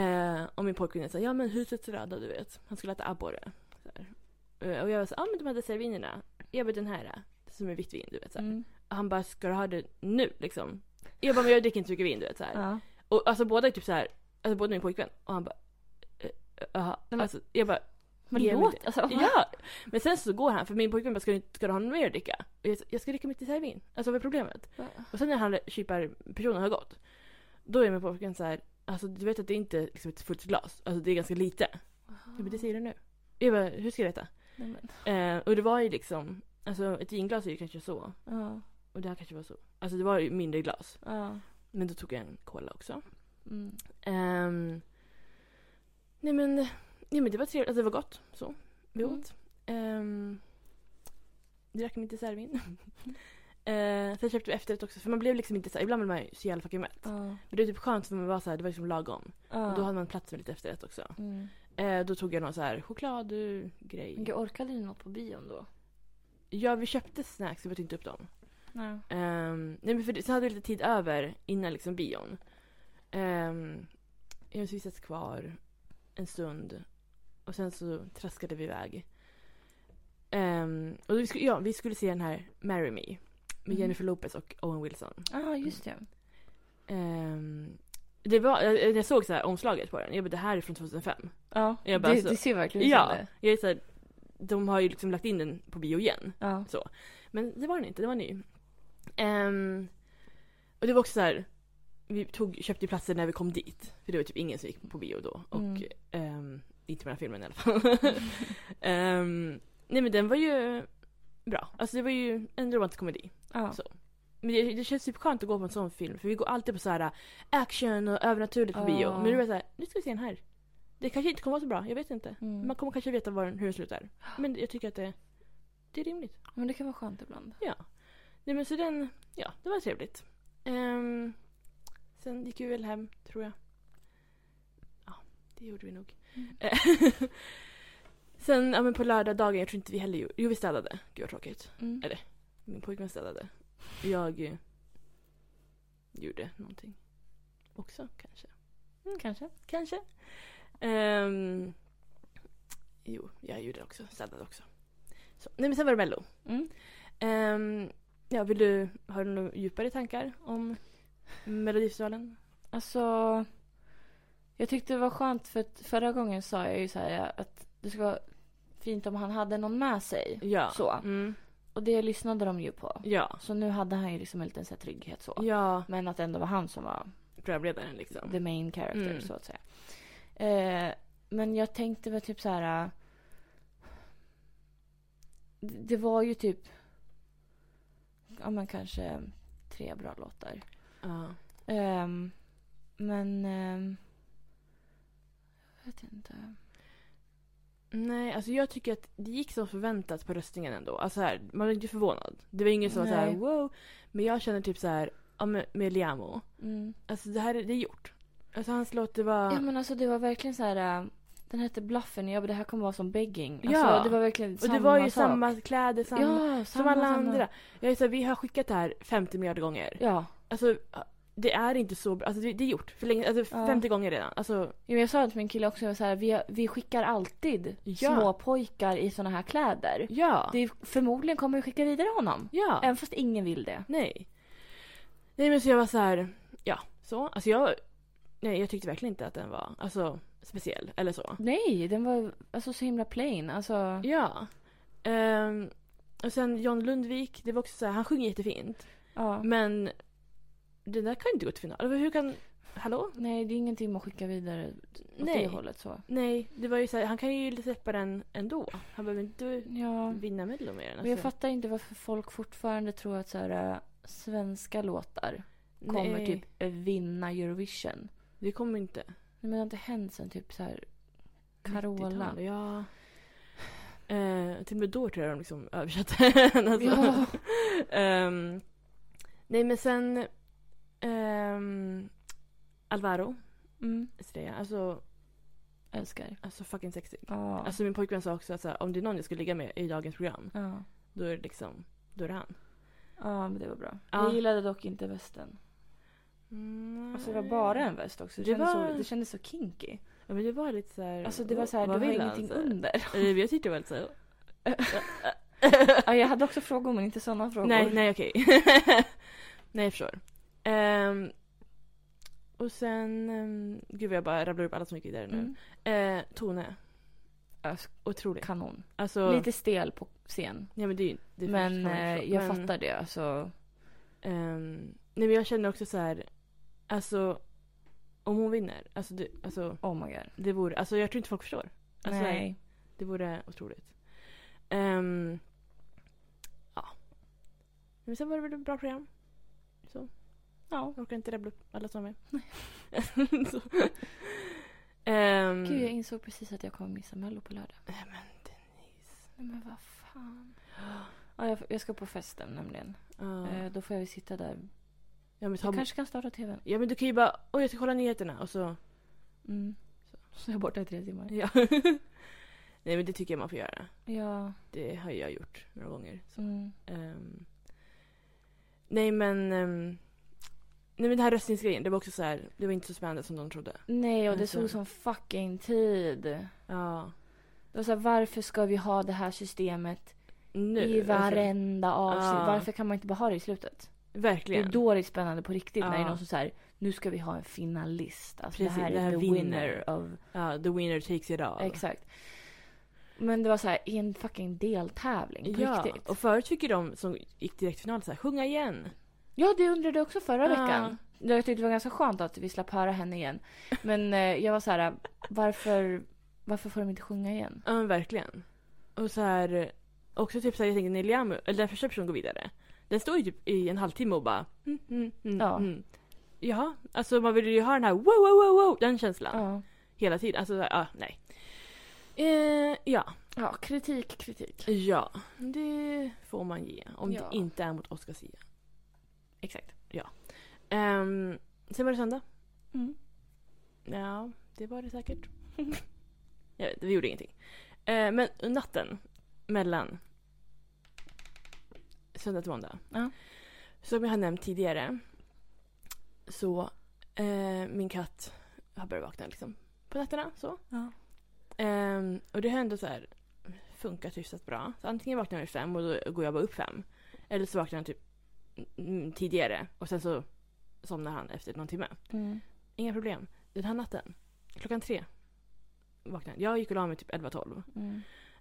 A: Eh, och min pojkvän sa ja men husets röda du vet. Han skulle äta abborre. Så här. Eh, och jag var så ja ah, men de här dessertvinerna. Jag bara den här eh, som är vitt vin du vet. Så här.
B: Mm.
A: Och han bara ska du ha det nu liksom? Jag bara men jag dricker inte så mycket vin du vet. Så här.
B: Ja.
A: Och alltså båda är typ så här. Alltså både min pojkvin och han bara. eh, Jaha.
B: men-
A: Alltså jag bara
B: Men
A: Ge mig
B: låt,
A: det.
B: alltså.
A: Ja! Men sen så går han, för min pojkvän bara ska du, inte- ska du ha något mer att dricka? Och jag, sa, jag ska dricka mitt dessertvin. Alltså vad är problemet?
B: Ja.
A: Och sen när han kyparpersonen har gått. Då är min pojkvän så här, alltså du vet att det är inte liksom ett fullt glas. Alltså det är ganska lite. Jag bara, det säger du nu. Jag bara, hur ska jag veta?
B: Nej, men,
A: Eh, och det var ju liksom, alltså ett vinglas är ju kanske så.
B: ja.
A: Och det här kanske var så. Alltså det var ju mindre glas.
B: Ja.
A: Men då tog jag en cola också.
B: Mm.
A: Ehm, nej men, nej men det var trevligt, alltså det var gott. Så, vi
B: Mm.
A: åt. Ehm, drack mitt dessertvin. uh, sen köpte vi efterrätt också för man blev liksom inte så här, ibland blir man ju så jävla fucking mätt.
B: Ja.
A: Men det är typ skönt för man var så här, det var liksom lagom.
B: Ja.
A: Och då hade man plats med lite efterrätt också.
B: Mm.
A: Eh, då tog jag någon så här eh, chokladgrej.
B: Men Gud, orkade ni något på bion då?
A: Ja vi köpte snacks, vi åt inte upp dem.
B: Nej.
A: Ehm, nej men för det, så hade vi lite tid över innan liksom bion. Um, jag vi satt kvar en stund och sen så traskade vi iväg. Ehm, och vi skulle, ja, vi skulle se den här Marry Me med
B: Mm.
A: Jennifer Lopez och Owen Wilson.
B: Ja, just det.
A: Ehm, det var, jag, jag såg så här omslaget på den, jag bara det här är från 2005.
B: Ja,
A: Jag bara,
B: det,
A: alltså-
B: det ser verkligen ut som
A: Ja,
B: det.
A: jag är så här, de har ju liksom lagt in den på bio igen.
B: Ja.
A: Men det var den inte, det var ny. Ehm, och det var också så här. Vi tog, köpte ju platser när vi kom dit. För det var typ ingen som gick på bio då. Och
B: Mm.
A: ehm, inte med den här filmen i alla fall. Ehm, nej men den var ju bra. Alltså det var ju en romantisk komedi.
B: Ja.
A: Så. Men det, det känns typ skönt att gå på en sån film. För vi går alltid på så här äh, action och övernaturligt på bio.
B: Ja.
A: Men nu är det så här, nu ska vi se den här. Det kanske inte kommer vara så bra, jag vet inte.
B: Mm.
A: Man kommer kanske veta var den, hur den slutar. Men jag tycker att det, det är rimligt.
B: Men det kan vara skönt ibland.
A: Ja. Nej men så den, ja det var trevligt. Ehm, sen gick vi väl hem, tror jag. Ja, det gjorde vi nog.
B: Mm.
A: Eh, sen, ja men på lördagdagen, jag tror inte vi heller gjorde, jo vi städade. Gud vad tråkigt.
B: Mm.
A: Eller- Min pojkvän städade. Jag eh, gjorde någonting. Också kanske.
B: Mm, kanske.
A: Kanske. Ehm, jo, jag gjorde det också. Städade också. Så. Nej men sen var det Mello.
B: Mm.
A: Ehm, ja, vill du, har du några djupare tankar om Melodifestivalen?
B: Alltså, jag tyckte det var skönt för att förra gången sa jag ju så här att det skulle vara fint om han hade någon med sig.
A: Ja.
B: Så.
A: Mm.
B: Och det lyssnade de ju på.
A: Ja.
B: Så nu hade han ju liksom en liten så här trygghet så.
A: Ja,
B: Men att det ändå var han som var
A: programledaren liksom.
B: the main character
A: Mm.
B: så att säga. Eh, men jag tänkte väl typ så här. eh, d- Det var ju typ. Ja men kanske tre bra låtar.
A: Ja.
B: Ehm, men... ehm, jag vet inte.
A: Nej, alltså jag tycker att det gick som förväntat på röstningen ändå. Alltså här, man var inte förvånad. Det var ingen som var så här
B: Nej.
A: wow. Men jag känner typ så här, ja men med Liamo.
B: Mm.
A: Alltså det här är, det är gjort. Alltså hans låt det var...
B: Ja men alltså det var verkligen så här. eh, Den hette Bluffen. Ja men det här kommer vara som begging. Alltså,
A: Ja.
B: Det var verkligen
A: och
B: samma
A: det var ju
B: sak.
A: samma kläder, samma...
B: Ja, samma,
A: som alla
B: samma.
A: andra. Jag är så här, vi har skickat det här 50 miljarder gånger.
B: Ja.
A: Alltså det är inte så bra. Alltså det, det är gjort. För länge, alltså
B: Ja.
A: 50 gånger redan. Alltså
B: Ja, men jag sa det till min kille också, jag var så här, vi, vi skickar alltid
A: Ja.
B: små pojkar i såna här kläder.
A: ja.
B: Det är, förmodligen kommer vi skicka vidare honom.
A: ja.
B: Även fast ingen vill det.
A: Nej. Nej men så jag var så här, ja så. Alltså jag, nej jag tyckte verkligen inte att den var alltså speciell eller så.
B: Nej, den var alltså så himla plain. Alltså,
A: Ja. Ehm, och sen John Lundvik, det var också så här, han sjunger jättefint.
B: ja.
A: Men den där kan ju inte gå till final. Eller Hur kan, hallå?
B: Nej, det är ingenting man skickar vidare åt
A: Nej.
B: det hållet så.
A: Nej, det var ju så här, han kan ju släppa den ändå. Han behöver inte
B: Ja.
A: vinna Mello med den.
B: Men jag
A: alltså.
B: fattar inte varför folk fortfarande tror att så här, äh, svenska låtar kommer
A: Nej,
B: typ äh, vinna Eurovision.
A: Det kommer inte.
B: Nej, Men det har inte hänt sen typ så här Carola.
A: 90-tal. Ja. Eh, till och med då tror jag de liksom översatte den. Alltså.
B: Ja.
A: Ehm, nej men sen ehm, Alvaro
B: Mm.
A: Estrella, alltså,
B: Älskar.
A: alltså fucking sexig.
B: Ja.
A: Alltså min pojkvän sa också att så här, om det är någon jag skulle ligga med i dagens program,
B: ja.
A: då är det liksom, då är det han.
B: ja, men det var bra.
A: Ja.
B: Jag gillade dock inte västen. Alltså det var bara en väst också. Det,
A: Det
B: kändes,
A: var-
B: så, det kändes så kinky.
A: Ja men det var lite såhär...
B: Alltså det var så här, det var ingenting under.
A: under. Eh, Jag tyckte det var lite såhär...
B: Ja, jag hade också frågor men inte sådana frågor.
A: nej,
B: Mm.
A: nej okej. nej jag förstår. Ehm, och sen... Um, gud vad jag bara rabblar upp alla som gick vidare nu.
B: Mm.
A: Eh, Tone,
B: Alltså,
A: otrolig.
B: Kanon.
A: Alltså...
B: Lite stel på scen.
A: Nej men det är ju... det är förstås-
B: men eh, jag
A: men,
B: fattar det. Alltså,
A: ehm, nej men jag känner också så här. Alltså... Om hon vinner, alltså det, alltså,
B: oh my god.
A: det vore... Alltså jag tror inte folk förstår. Alltså,
B: nej.
A: Det vore otroligt. Ehm, ja. Men sen var det väl ett bra program. Så.
B: Ja.
A: Jag orkar inte rabbla upp alla som var med. Så. Ehm,
B: Gud, jag insåg precis att jag kommer missa Mello på lördag.
A: nej, men Denise.
B: Nej, men vad fan. Ja, jag, jag ska på festen nämligen.
A: Ja.
B: Eh, då får jag ju sitta där.
A: ja, men ta,
B: Jag kanske kan starta tvn.
A: ja men du kan ju bara, oj jag ska kolla nyheterna och så.
B: Mm. Så jag är borta i tre timmar.
A: Ja. nej men det tycker jag man får göra.
B: Ja.
A: Det har jag gjort några gånger. Så.
B: Mm.
A: Ehm, nej men. ehm, nej men den här röstningsgrejen, det var också så här, det var inte så spännande som de trodde.
B: Nej, och det
A: Alltså.
B: tog som fucking tid.
A: Ja.
B: Det var så här, varför ska vi ha det här systemet
A: Nu. alltså,
B: i varenda avsnitt?
A: Ja.
B: Varför kan man inte bara ha det i slutet?
A: Alltså, verkligen.
B: Det är då det är spännande på riktigt. När det
A: Ja.
B: är någon som säger nu ska vi ha en finalist. Alltså,
A: Precis,
B: det här är
A: det här
B: the
A: vinner.
B: winner of...
A: Ja, the winner takes it all.
B: Exakt. Men det var så här, i en fucking deltävling på
A: Ja,
B: riktigt.
A: och förut fick ju de som gick direkt till final så här, sjunga igen.
B: Ja, det undrade jag också förra
A: Ja.
B: veckan. Jag tyckte det var ganska skönt att vi slapp höra henne igen. Men eh, jag var så här, varför, varför får de inte sjunga igen?
A: Ja, men verkligen. Och så här, också typ så här, jag tänker Niliamu, eller den första personen går vidare. Den står ju typ i en halvtimme och bara mm, mm, mm,
B: Ja.
A: mm. Jaha, alltså man vill ju ha den här wow, wow, wow, wow, den känslan.
B: Ja.
A: Hela tiden. Alltså, så här, ja, nej. Eh, ja.
B: ja, kritik, kritik.
A: ja, det får man ge. Om
B: Ja.
A: det inte är mot Oscar Sia.
B: Exakt.
A: Ehm, sen var det söndag.
B: Mm.
A: Ja, det var det säkert. jag vet, vi gjorde ingenting. Eh, men natten mellan söndag till måndag.
B: Ja.
A: Som jag har nämnt tidigare så eh, min katt har börjat vakna liksom på nätterna. Så.
B: Ja.
A: Ehm, och det har ändå så här funkat hyfsat bra. Så antingen vaknar han vid fem och då går jag bara upp fem. Eller så vaknar han typ mm, tidigare och sen så somnar han efter någon timme.
B: Mm.
A: Inga problem. Den här natten, klockan tre, vaknade jag. Jag gick och la mig typ 11-12.
B: Mm.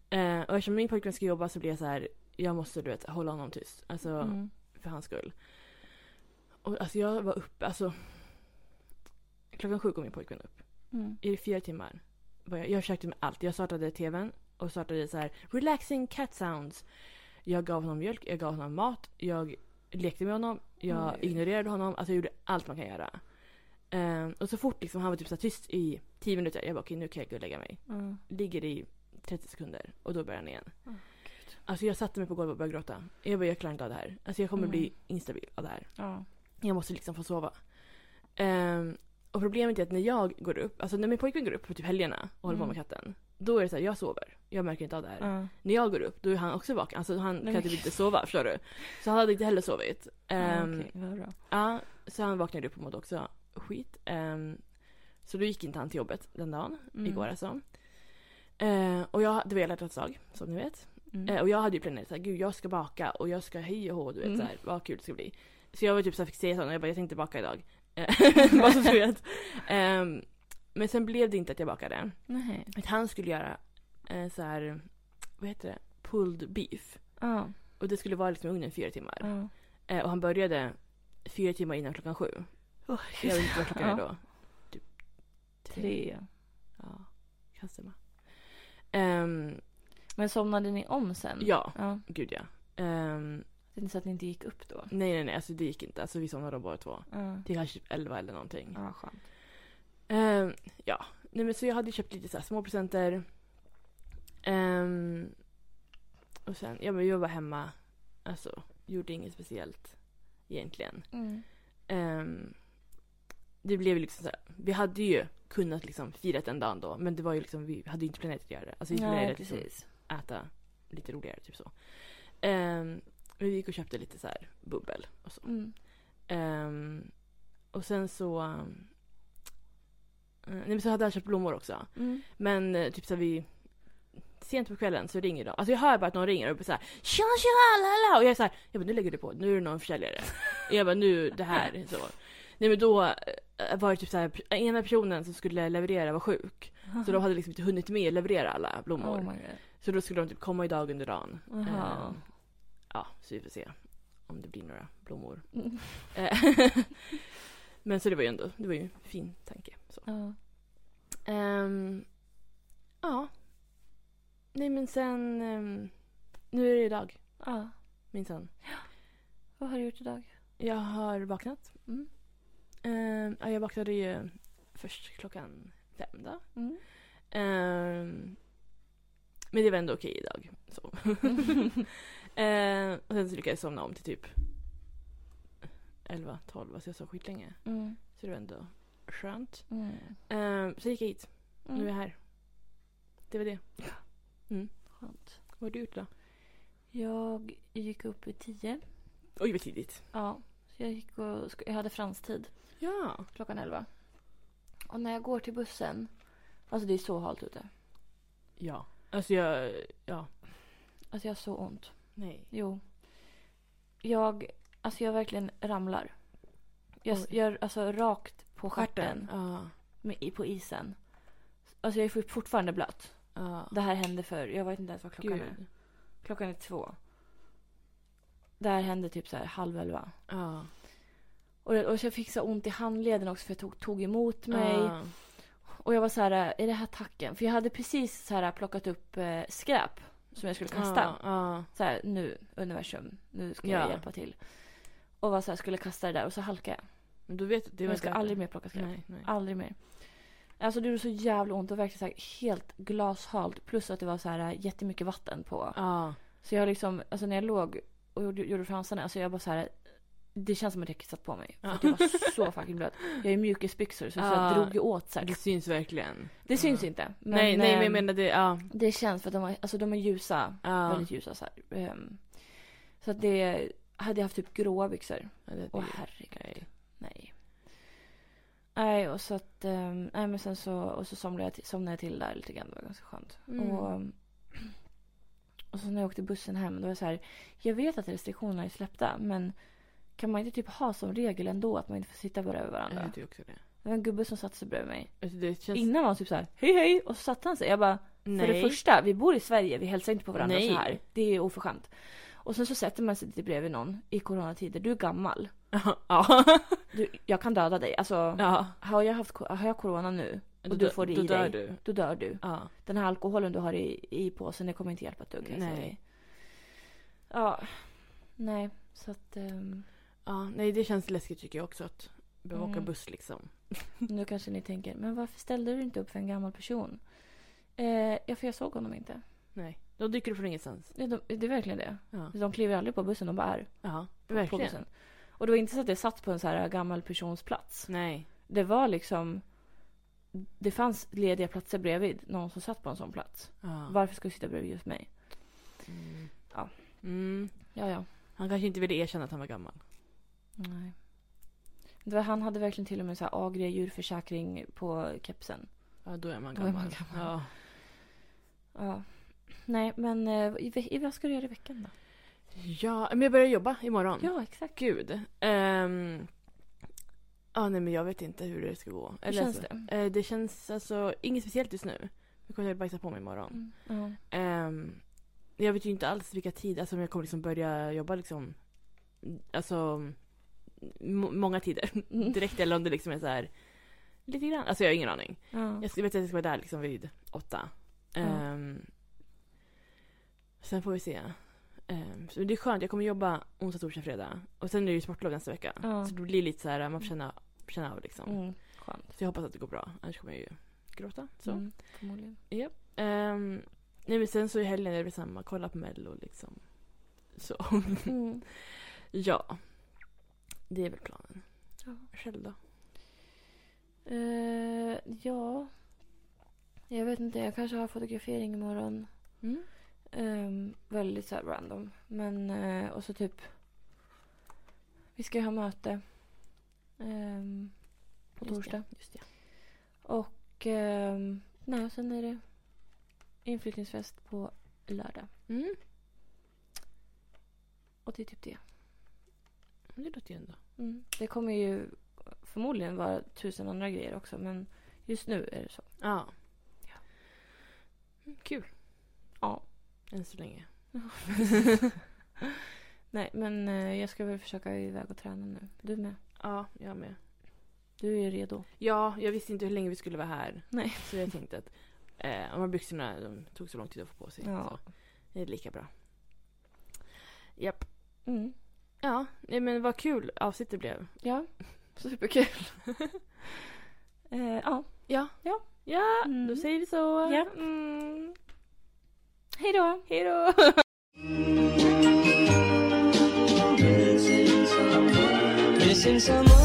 A: Eh, och eftersom min pojkvän ska jobba så blir jag så här, jag måste du vet hålla honom tyst. Alltså
B: Mm.
A: för hans skull. Och alltså jag var uppe, alltså. Klockan sju kom min pojkvän upp.
B: Mm.
A: I fyra timmar. var Jag, jag försökte med allt. Jag startade tvn och startade så här relaxing cat sounds. Jag gav honom mjölk, jag gav honom mat, jag lekte med honom, jag
B: Nej.
A: ignorerade honom. Alltså jag gjorde allt man kan göra. Ehm, och så fort liksom han var typ så här tyst i tio minuter, jag bara okej nu kan jag gå och lägga mig.
B: Mm.
A: Ligger i 30 sekunder och då börjar han igen.
B: Åh,
A: alltså jag satte mig på golvet och började gråta. Jag bara jag klarar inte av det här. Alltså jag kommer
B: Mm.
A: bli instabil av det här.
B: Ja.
A: Jag måste liksom få sova. Ehm, och problemet är att när jag går upp, alltså när min pojkvän går upp på typ helgerna och håller på med
B: Mm.
A: katten. Då är det så här, jag sover. Jag märker inte av det här.
B: Ja.
A: När jag går upp då är han också vaken. Alltså han
B: Nej,
A: kan
B: men
A: typ
B: gud.
A: inte sova förstår du. Så han hade inte heller sovit.
B: Ja,
A: Ehm,
B: okej, vad bra.
A: ja, så han vaknade upp och mådde också skit. Ehm, så då gick inte han till jobbet den dagen,
B: Mm.
A: igår alltså. Ehm, och jag, det var hela hjärtats dag som ni vet. Eh,
B: Mm.
A: Och jag hade ju planerat såhär, gud jag ska baka och jag ska hej och hå, du vet
B: Mm.
A: såhär, vad kul det ska bli. Så jag var typ såhär fixerad och jag bara, jag tänkte baka idag. Eh, Bara så du vet. Ehm, men sen blev det inte att jag bakade.
B: Nej.
A: Att han skulle göra eh, såhär, vad heter det, pulled beef.
B: Ja.
A: Och det skulle vara liksom i ugnen i fyra timmar.
B: Ja.
A: Eh, och han började fyra timmar innan klockan sju. Jag vet inte vad klockan är då. Typ
B: Tre.
A: Ja, kan stämma.
B: Mm.
A: Ehm,
B: Men somnade ni om sen?
A: ja,
B: Ja.
A: gud ja. Ehm,
B: Det är inte så att ni inte gick upp då?
A: nej nej nej, alltså det gick inte. Alltså vi somnade bara två.
B: Ja.
A: till kanske typ 11 eller någonting.
B: Ja, skönt.
A: Ehm, ja, nej men så jag hade köpt lite så här små presenter. Ehm, Och sen, ja men jag var hemma, alltså gjorde inget speciellt egentligen.
B: Mm.
A: Ehm, det blev ju liksom så här, vi hade ju kunnat liksom fira den dagen då men det var ju liksom, vi hade ju inte planerat att göra det. Alltså vi planerade
B: Nej,
A: att liksom
B: precis.
A: äta lite roligare typ så. Ehm, men vi gick och köpte lite så här bubbel och så.
B: Mm.
A: Ehm, och sen så... ehm, nej men så hade han köpt blommor också.
B: Mm.
A: Men eh, typ så här, vi... Sent på kvällen så ringer de. Alltså jag hör bara att någon ringer och bara så här tja tja la la och jag är så här, jag bara nu lägger du på, nu är det någon försäljare. jag bara nu det här så. Nej men då eh, var det typ så här, ena personen som skulle leverera var sjuk. Så de hade liksom inte hunnit med att leverera alla blommor.
B: Oh my god.
A: Så då skulle de typ komma idag under dagen.
B: Jaha.
A: Ehm, ja, så vi får se om det blir några blommor.
B: Mm.
A: Eh, Men så det var ju ändå, det var ju en fin tanke. Så.
B: Ja.
A: Ehm, ja. Nej men sen, ehm, nu är det idag
B: ja.
A: minsann.
B: Vad har du gjort idag?
A: Jag har vaknat.
B: Mm.
A: Ehm, ja, jag vaknade ju först klockan fem då.
B: Mm.
A: Ehm, men det var ändå okej idag. Så. Ehm, och sen så lyckades jag somna om till typ 11, 12, alltså jag sov skitlänge.
B: Mm.
A: Så det var ändå skönt.
B: Mm.
A: Ehm, så gick jag hit,
B: Mm.
A: nu är jag här. Det var det.
B: Skönt.
A: Vad har du gjort då?
B: Jag gick upp i tio.
A: Oj vad tidigt.
B: Ja. Så jag, gick och, sk- jag hade franstid
A: Ja.
B: klockan elva. Och när jag går till bussen. Alltså det är så halt ute.
A: Ja. Alltså jag, ja.
B: Alltså jag har så ont.
A: Nej.
B: Jo. Jag, alltså jag verkligen ramlar. Jag
A: Oj.
B: gör alltså rakt på stjärten
A: Ja.
B: med, i- på isen. Alltså jag är fort- fortfarande blöt.
A: Ja.
B: Det här hände för, jag vet inte ens vad klockan är.
A: Gud.
B: Klockan är två. Det här hände typ så här halv elva.
A: Ja.
B: Och, och så jag fick så ont i handleden också för jag tog, tog emot mig.
A: Ja.
B: Och jag var så här, är det här tacken? För jag hade precis så här plockat upp eh, skräp som jag skulle kasta.
A: Ja.
B: Så här, nu universum, nu ska
A: Ah. Ja.
B: jag hjälpa till. Och var så här, skulle kasta det där och så halkade jag.
A: Men du vet att det
B: Men
A: var
B: jag ska
A: inte-
B: aldrig mer plocka skräp.
A: Nej, nej.
B: Aldrig mer. Alltså det gjorde så jävla ont och verkligen så här helt glashalt. Plus att det var så här eh, jättemycket vatten på.
A: Ja.
B: Så jag liksom, alltså när jag låg och gjorde, gjorde fransarna, alltså jag bara så här. Det känns som att jag kissat på mig. För att jag var så fucking blöt. Jag är mjukisbyxor så, så
A: Ja.
B: jag drog ju åt så här.
A: Det syns verkligen.
B: Det syns inte. Men,
A: nej, nej men jag
B: ehm,
A: menar det, ja.
B: Det känns för att de, har, alltså de är ljusa.
A: Ja.
B: Väldigt ljusa så här. Ehm, så att det, hade jag haft typ gråa byxor.
A: Ja, det-
B: Åh
A: det-
B: herregud.
A: nej.
B: Nej. Nej, och så att... ehm, nej, men sen så, och så somnade jag, till, somnade jag till där lite grann. Det var ganska skönt.
A: Mm.
B: Och, och så när jag åkte bussen hem, då var jag så här... Jag vet att restriktionerna är släppta, men kan man inte typ ha som regel ändå att man inte får sitta bredvid
A: Jag
B: varandra?
A: tycker också det.
B: Det var en gubbe som satte sig bredvid mig.
A: Alltså det känns...
B: Innan var han typ så här, hej hej! Och så satte han sig. Jag bara,
A: nej.
B: för det första, vi bor i Sverige, vi hälsar inte på varandra
A: Nej.
B: så här. Det är oförskämt. Och sen så sätter man sig lite bredvid någon i coronatider. Du är gammal.
A: ja.
B: Du, jag kan döda dig. Alltså,
A: ja.
B: har jag, haft, ko- har jag corona nu, Och du får det
A: då
B: i
A: dör
B: dig.
A: du.
B: då dör du.
A: Ja.
B: Den här alkoholen du har i, i påsen, det kommer inte hjälpa ett dugg. kan jag säga
A: Nej.
B: dig. Ja. Nej, så att ehm,
A: ja. Nej det känns läskigt tycker jag också att behöva åka
B: Mm.
A: buss liksom.
B: nu kanske ni tänker, men varför ställde du inte upp för en gammal person? Eh, ja, för jag såg honom inte.
A: Nej. Då dyker du från ingenstans.
B: Det, de, det är verkligen det.
A: Ja.
B: De kliver aldrig på bussen, de bara är
A: Ja.
B: på, på
A: Verkligen.
B: bussen. Och det var inte så att jag satt på en så här gammal persons plats.
A: Nej.
B: Det var liksom, det fanns lediga platser bredvid någon som satt på en sån plats.
A: Ja.
B: Varför ska du sitta bredvid just mig?
A: Mm.
B: Ja.
A: Mm.
B: Ja, ja.
A: Han kanske inte ville erkänna att han var gammal.
B: Nej. Det var, han hade verkligen till och med så här agre djurförsäkring på kepsen.
A: Ja, då är man
B: Då
A: gammal.
B: är man gammal.
A: Ja.
B: Ja. Nej, men eh, i, ve- i, vad ska du göra i veckan då?
A: ja, men jag börjar jobba imorgon.
B: Ja, exakt.
A: Gud. Ehm, ja, nej men jag vet inte hur det ska gå.
B: Hur känns
A: alltså,
B: det?
A: Eh, det känns alltså inget speciellt just nu. Jag kommer att bajsa på mig imorgon.
B: Mm. Ja.
A: Ehm, jag vet ju inte alls vilka tider, alltså om jag kommer liksom börja jobba liksom, alltså må- många tider
B: Mm.
A: direkt eller om det liksom är så här lite grann. Alltså jag har ingen aning.
B: Ja.
A: Jag ska- vet att jag ska vara där liksom vid åtta. Ehm, sen får vi se. Ehm, så det är skönt, jag kommer jobba onsdag, torsdag, fredag. Och sen är det ju sportlov nästa vecka.
B: Ja.
A: Så det blir lite så här, man får känna, känna av liksom.
B: Mm. Skönt.
A: Mm. Så jag hoppas att det går bra, annars kommer jag ju gråta. Så.
B: Mm. Förmodligen.
A: Ehm, Nej men sen så i helgen är det samma, kolla på mello liksom. Så
B: Mm.
A: ja. Det är väl planen.
B: Ja.
A: Själv då?
B: Eh, ja. Jag vet inte, jag kanske har fotografering imorgon.
A: Mm.
B: Ehm, väldigt så här random. Men, eh, och så typ. Vi ska ju ha möte. ehm, på
A: Just det,
B: torsdag.
A: Just det.
B: Och ehm, nej, och sen är det inflyttningsfest på lördag.
A: Mm.
B: Och det är typ det.
A: Men Det låter ju ändå.
B: Mm. Det kommer ju förmodligen vara tusen andra grejer också. Men just nu är det så.
A: Ja.
B: Ja.
A: Mm, Kul.
B: Ja.
A: Än så länge.
B: Nej, men eh, jag ska väl försöka iväg och träna nu. Du med.
A: Ja, jag med.
B: Du är redo.
A: Ja, jag visste inte hur länge vi skulle vara här.
B: Nej.
A: Så jag tänkte att eh, de här byxorna de tog så lång tid att få på sig.
B: Ja.
A: Så det är lika bra. Japp.
B: Mm.
A: Ja, nej, men vad kul avsnitt det blev.
B: Ja, superkul. eh, ja.
A: Ja.
B: Ja.
A: Ja,
B: Mm.
A: då säger vi så.
B: Japp.
A: Mm.
B: Hej då.
A: Hej då.
C: Missing someone. Missing someone.